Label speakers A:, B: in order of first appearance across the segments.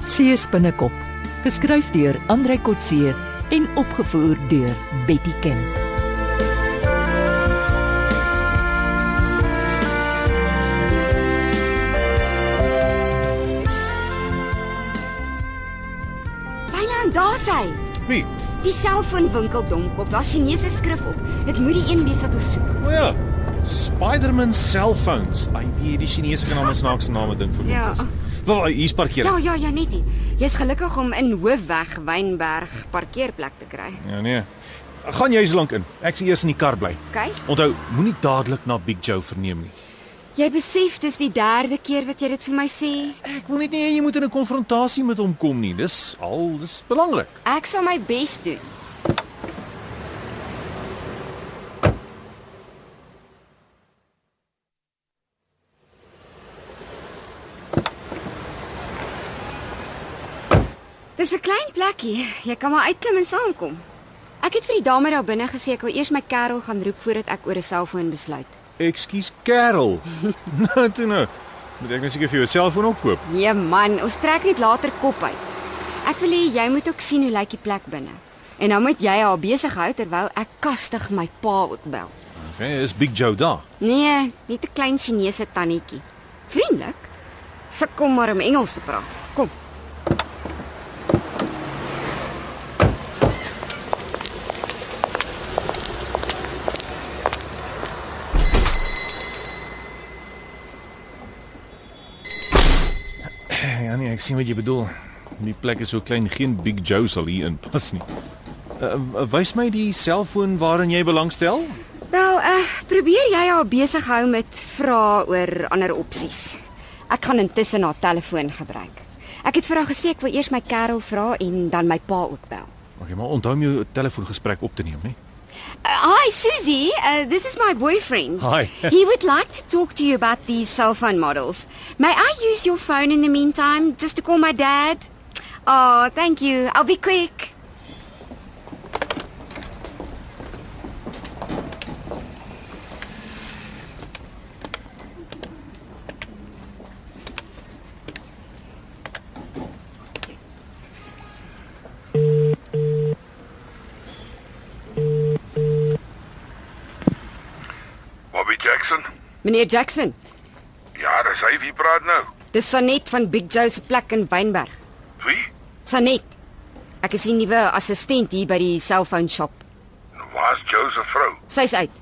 A: Kotse se binnekop, geskryf deur Andrei Kotse en opgevoer deur Betty Ken.
B: Bylaan daar's hy.
C: Wie?
B: Die selfoonwinkel domkop. Daar's Chinese skrif op. Dit moet die een wees wat ons soek.
C: O ja. Spider-Man selfoons. Ai, wie die Chinese kan almal snaakse name ding vir
B: Ja.
C: winkels. Wel, hier's parkeer.
B: Ja, ja, ja, net hier. Jy's gelukkig om in Hoofweg Wynberg parkeerplek te kry.
C: ja nee. Gaan jy so lank in. Ek sien eers in die kar bly.
B: OK?
C: Onthou, moenie dadelik na Big Joe verneem nie.
B: Jy besef dis die derde keer wat jy dit vir my sê.
C: Ek wil net nie hê jy moet in 'n konfrontasie met hom kom nie. Dis al, dis belangrik.
B: Ek sal my bes doen. Dis 'n klein plekkie. Jy kan maar uitklim en saamkom. Ek het vir die dame daar binne gesê ek wil eers my kerel gaan roep voordat ek oor 'n selfoon besluit.
C: Ekskuus, Karel. nou toe nou. Moet ek nou seker vir jou 'n selfoon opkoop?
B: Nee man, ons trek net later kop uit. Ek wil hê jy moet ook sien hoe lyk die plek binne. En dan moet jy haar besig hou terwyl ek kastig my pa ook bel.
C: Okay, is Big Joe daar?
B: Nee, net 'n klein Chinese tannetjie. Vriendelik. Sukkel maar om Engels te praat. Kom.
C: Ja nee, ek sien wat jy bedoel. Die plek is so klein, geen Big Joe sal hier inpas nie. Uh, uh, wys my die selfoon waarin jy belangstel.
B: Wel, uh, probeer jy haar besig hou met vrae oor ander opsies. Ek gaan intussen haar telefoon gebruik. Ek het vir haar gesê ek wil eers my kerel vra en dan my pa ook bel.
C: Okay, maar onthou om jou telefoongesprek op te neem, né?
B: Uh, hi, Susie. Uh, this is my boyfriend.
C: Hi.
B: he would like to talk to you about these cell phone models. May I use your phone in the meantime just to call my dad? Oh, thank you. I'll be quick.
D: Bobby Jackson?
B: Meneer Jackson,
D: Ja, dis hy wie praat nou.
B: dis Sanet van Big Joe se plek in Wynberg.
D: Wie?
B: Sanet. Ek is die nuwe assistent hier by die selfoon shop.
D: Waar's Joe se vrou?
B: Sy's uit.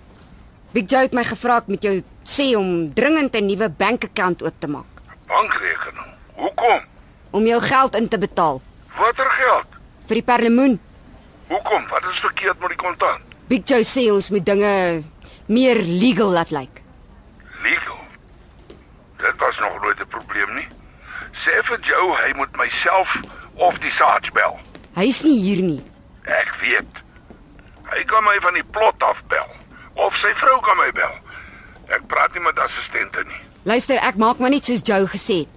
B: Big Joe het my gevra ek moet jou sê om dringend 'n nuwe bankaccount oop te maak
D: Bankrekening. Hoekom?
B: om jou geld in te betaal
D: Watter geld?
B: vir die perlemoen.
D: Hoekom? Wat is verkeerd met die kontant?
B: Big Joe sê ons moet dinge meer legal laat lyk.
D: Legal. Dit was nog nooit 'n probleem nie. Sê vir Joe hy moet myself of die Sarge bel.
B: Hy's nie hier nie.
D: Ek weet. Hy kan my van die plot af bel of sy vrou kan my bel. Ek praat nie met assistente nie.
B: Luister, ek maak maar net soos Joe gesê het.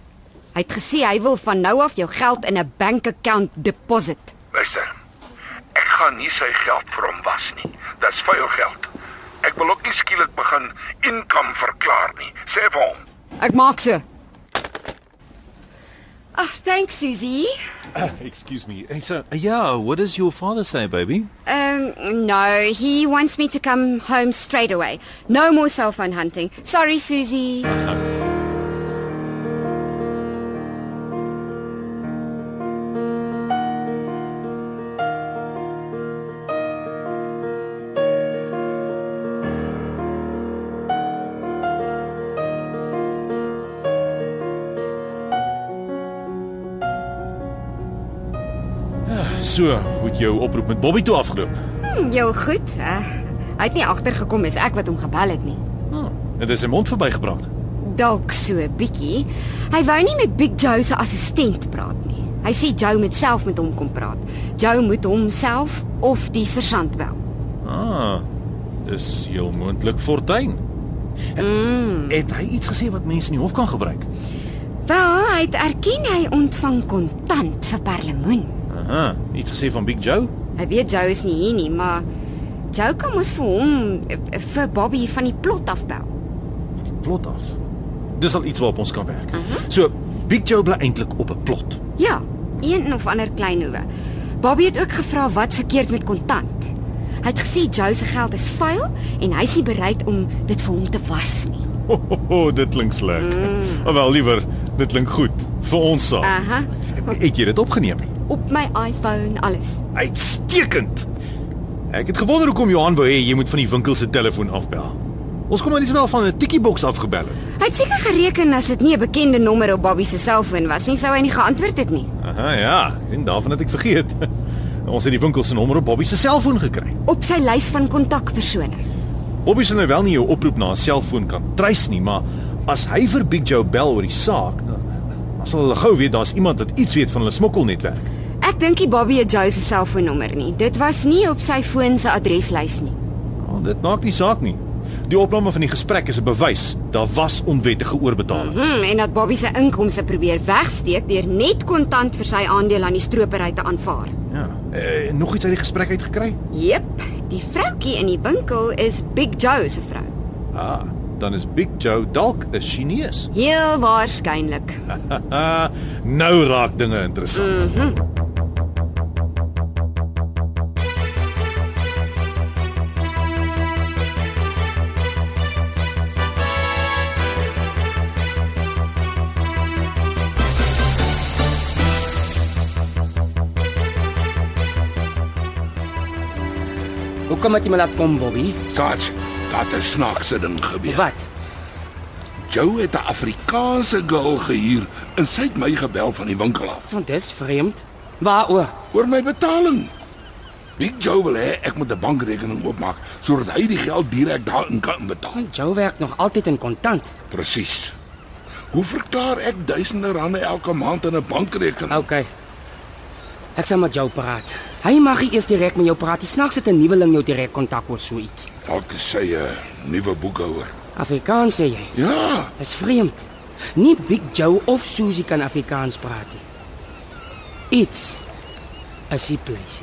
B: Hy het gesê hy wil van nou af jou geld in 'n bankaccount deposit.
D: Luister. Ek gaan nie sy geld vir hom was nie. Dis vuil geld. Ek wil ook nie skielik begin inkom verklaar nie. Sê vir hom.
B: Ek maak so. Ag, thanks Susie.
C: Excuse me. Hey, so, yeah, what does your father say, baby?
B: Um no, he wants me to come home straight away. No more cell phone hunting. Sorry Susie.
C: So, moet jou oproep met Bobby toe afgeloop.
B: Hm, Heel goed. Uh, hy het nie agtergekom is ek wat hom gebel het nie.
C: Oh. En dis sy mond verbygepraat.
B: Dalk so 'n bietjie. Hy wou nie met Big Joe se assistent praat nie. Hy sê Joe moet self met hom kom praat. Joe moet homself of die sergeant bel.
C: Ah. Dis heel moontlik fortuin. Mm. Het hy iets gesê wat mense in die hof kan gebruik?
B: Wel, hy het erken hy ontvang kontant vir Perlemoen.
C: Aha, iets gesê van Big Joe?
B: Hy weet Joe is nie hier nie, maar Joe kan mos vir hom eh, vir Bobby van die plot afbel.
C: Die plot af. Dis al iets waarop ons kan werk. Uh -huh. So, Big Joe bly eintlik op 'n plot.
B: Ja. een of ander klein hoewe. Bobby het ook gevra wat verkeerd met kontant. Hy het gesê Joe se geld is vuil en hy's nie bereid om dit vir hom te was nie.
C: Ho, ho, ho, dit klink sleg. Mm. Wel liewer, dit klink goed vir ons saak.
B: Aha.
C: Het jy dit opgeneem?
B: Op my iPhone alles.
C: Uitstekend. Ek het gewonder hoekom Johan wou hê jy moet van die winkel se telefoon afbel. Ons kom maar net wel van 'n tikkie boks afgebel het.
B: Hy het seker gereken as dit nie 'n bekende nommer op Bobby se selfoon was nie, sou hy nie geantwoord het nie.
C: Aha, ja, en daarvan het ek vergeet. Ons het die winkel se nommer op Bobby se selfoon gekry.
B: Op sy lys van kontakpersone.
C: Bobby sal nou wel nie jou oproep na 'n selfoon kan trace nie, maar as hy vir Big Joe bel oor die saak, dan, dan sal hulle gou weet daar's iemand wat iets weet van hulle smokkelnetwerk.
B: Ek dink nie Bobby het Joe se selfoonnommer nie. Dit was nie op sy foon se adreslys nie.
C: Nou, dit maak nie saak nie. Die opname van die gesprek is 'n bewys daar was onwettige oorbetaling.
B: Hmm, en dat Bobby se inkomste probeer wegsteek deur net kontant vir sy aandeel aan die stropery te aanvaar.
C: Ja. Eh, nog iets uit die gesprek uitgekry?
B: Jep, die vroutjie in die winkel is Big Joe se vrou.
C: Ah, dan is Big Joe dalk 'n Chinees.
B: Heel waarskynlik.
C: Haha, nou raak dinge interessant. Mm.
E: Hoekom het jy my laat kom, Bobby?
D: Sats, dat is snaakse ding gebeur.
E: Wat?
D: Joe het 'n Afrikaanse girl gehuur en sy het my gebel van die winkel af
E: Want dis vreemd. Waaroor?
D: oor my betaling. Big Joe wil hê ek moet 'n bankrekening oopmaak sodat hy die geld direk daarin kan betaal.
E: Want Joe werk nog altyd in kontant.
D: Presies. Hoe verklaar ek duisende rande elke maand in 'n bankrekening?
E: OK. Ek sal met jou praat. Hy mag nie eers direk met jou praat. Hy snaaks het 'n nuweling jou direk kontak oor so iets.
D: Dalk is sy 'n nuwe boekhouer.
E: Afrikaans sê jy.
D: Ja,
E: Dis vreemd. Nie Big Joe of Susie kan Afrikaans praat nie. Iets is die pleis.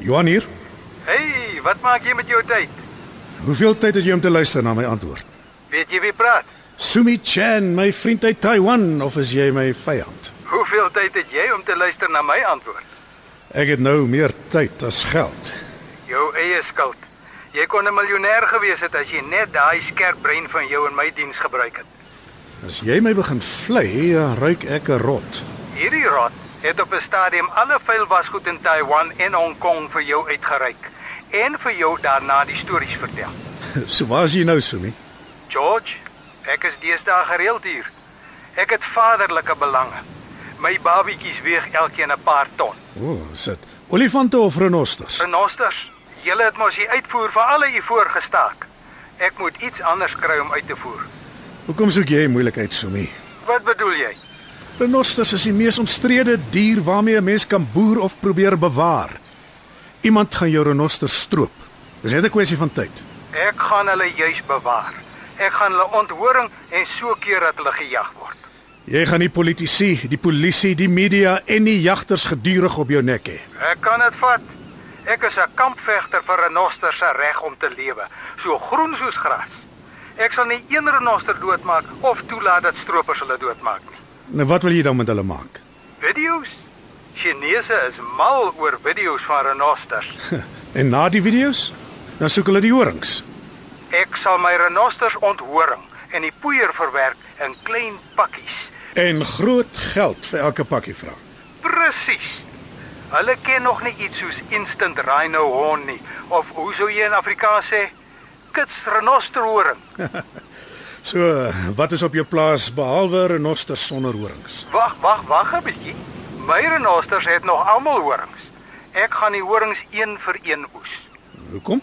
F: Johan hier.
G: Hey, wat maak jy met jou tyd?
F: Hoeveel tyd het jy om te luister na my antwoord?
G: Weet jy wie praat?
F: Sumi Chan, my vriend uit Taiwan of is jy my vyand?
G: Hoeveel tyd het jy om te luister na my antwoord?
F: Ek het nou meer tyd as geld.
G: Jou eie skuld. Jy kon 'n miljonair gewees het as jy net daai skerp brein van jou in my diens gebruik het.
F: As jy my begin vlei, dan ruik ek 'n rot.
G: Hierdie rot het op 'n stadium alle vuil wasgoed in Taiwan en Hong Kong vir jou uitgereik en vir jou daarna die stories vertel.
F: So waar is jy nou, Sumi?
G: George, ek is deesdae gereeld hier. Ek het vaderlike belange. My babietjies weeg elkeen 'n paar ton.
F: O, oh, sit. Olifante of renosters?
G: Renosters, julle het mos die uitvoer van alle hiervoor gestaak. Ek moet iets anders kry om uit te voer.
F: Hoekom soek jy moeilikheid, Sumi?
G: Wat bedoel jy?
F: Renosters is die mees omstrede dier waarmee 'n mens kan boer of probeer bewaar. Iemand gaan jou renoster stroop. Dis net 'n kwessie van tyd.
G: Ek gaan hulle juis bewaar. Ek gaan hulle onthoring en so keer dat hulle gejag word.
F: Jy gaan die politici, die polisie, die media en die jagters gedurig op jou nek hê.
G: Ek kan dit vat. Ek is 'n kampvegter vir renosters se reg om te lewe, so groen soos gras. Ek sal nie een renoster doodmaak of toelaat dat stroopers hulle doodmaak nie.
F: Nou wat wil jy dan met hulle maak?
G: Video's? Chinese is mal oor video's van renosters.
F: En na die video's, dan soek hulle die horings.
G: Ek sal my renosters onthoring en die poeier verwerk in klein pakkies.
F: En groot geld vir elke pakkie vra.
G: Presies. Hulle ken nog nie iets soos instant rhino horn nie of hoe sou jy in Afrikaans sê? Kits renosterhoring.
F: So, wat is op jou plaas behalwe renosters sonder horings?
G: Wag, wag, wag 'n bietjie. My renosters het nog almal horings. Ek gaan die horings een vir een oes.
F: Hoekom?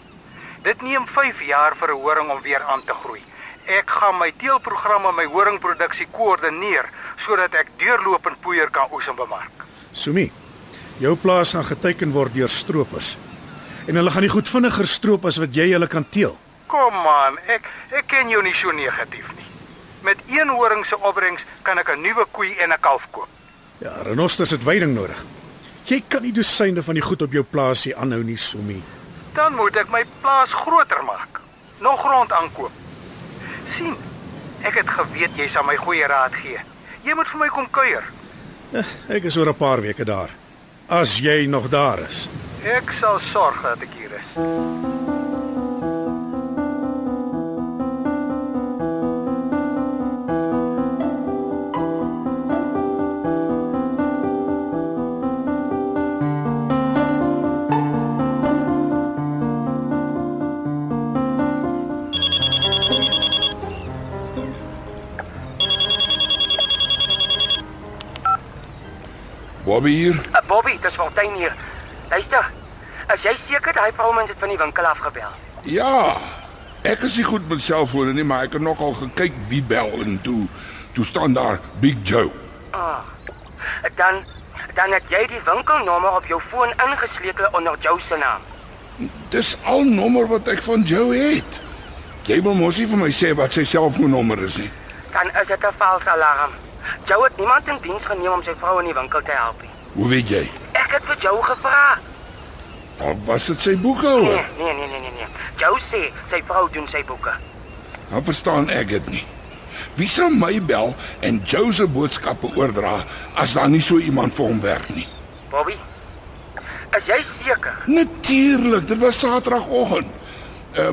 G: Dit neem 5 jaar vir 'n horing om weer aan te groei. Ek gaan my teelprogram en my horingproduksie koördineer sodat ek deurlopend poeier kan oes en bemark.
F: Sumi, jou plaas gaan geteken word deur stroopers. En hulle gaan die goed vinniger stroop as wat jy hulle kan teel.
H: Kom aan, ek ek ken jou nie so negatief nie. Met een horing se opbrengs kan ek 'n nuwe koei en 'n kalf koop.
F: Ja, renosters het veiding nodig. Jy kan nie dosyne van die goed op jou plaasie aanhou nie, Sommie.
H: Dan moet ek my plaas groter maak. Nog grond aankoop. sien. Ek het geweet jy sal my goeie raad gee. Jy moet vir my kom kuier.
F: Eh, Ek is oor 'n paar weke daar. As jy nog daar is.
H: Ek sal sorg dat ek hier is.
D: Bobby hier.
G: Uh, Bobby, dis Fontaine hier. Luister. As jy seker daai Romans het van die winkel af gebel.
D: Ja. Ek is nie goed met selfone nie, maar ek het nogal gekyk wie bel en toe toe staan daar Big Joe.
G: Ah, Dan dan het jy die winkelnommer op jou foon ingesleutel onder jou se naam.
D: Dis al nommer wat ek van Joe het. Jy wil mos nie vir my sê wat sy selfoonnommer is nie.
G: Dan is dit 'n vals alarm. Jou het niemand in diens geneem om sy vrou in die winkel te help nie.
D: Hoe weet jy?
G: Ek het vir jou gevra.
D: Dalk was dit sy boekhouer.
G: Nee, nee, nee, nee, nee, nee. Jou sê sy vrou doen sy boeke.
D: Dan verstaan ek dit nie. Wie sou my bel en Joe se boodskappe oordra as daar nie so iemand vir hom werk nie?
G: Bobby, is jy seker?
D: Natuurlik, dit was Saterdagoggend. Uh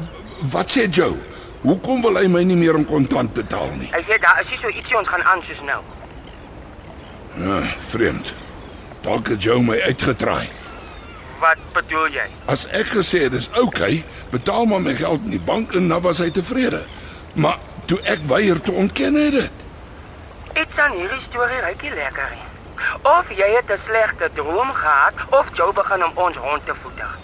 D: wat sê Joe? Hoekom wil hy my nie meer in kontant betaal nie?
G: Hy sê daar is nie so ietsie ons gaan aan soos nou.
D: Ja, vreemd. Dalk het Joe my uitgetraai.
G: Wat bedoel jy?
D: As ek gesê het dis oukei, okay, betaal maar my geld in die bank en dan was hy tevrede. Maar toe ek weier te ontken hy dit.
G: Iets aan hierdie storie ruik nie lekker nie. Of jy het 'n slegte droom gehad of jou begin om ons hond te voeter.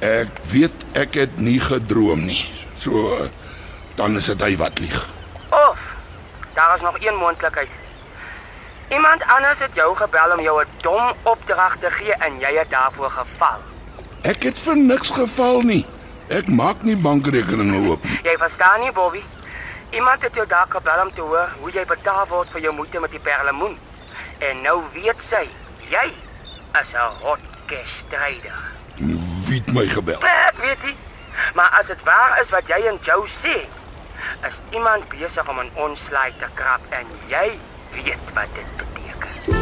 D: Ek weet ek het nie gedroom nie. So eh, dan is dit hy wat lieg.
G: Of daar is nog een moontlikheid. Iemand anders het jou gebel om jou 'n dom opdrag te gee en jy het daarvoor geval.
D: Ek het vir niks geval nie. Ek maak nie bankrekeninge oop nie.
G: Jy verstaan nie, Bobby? Iemand het jou daar gebel om te hoor hoe jy betaal word vir jou moeite met die perlemoen. En nou weet sy, jy is 'n rotkestryder.
D: Wie het my gebel?
G: Ek weet nie. Maar as dit waar is wat jy en Joe sê, is iemand besig om aan ons slaai te krap en jy weet wat dit beteken.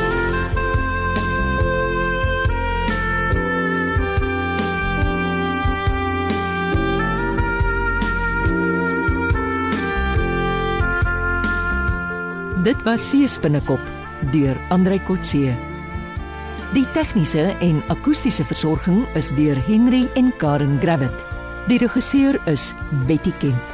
A: Dit was Seespinnekop deur Andrei Kotse. Die tegniese en akoestiese versorging is deur Henry en Karen Gravett. Die regisseur is Betty Kemp.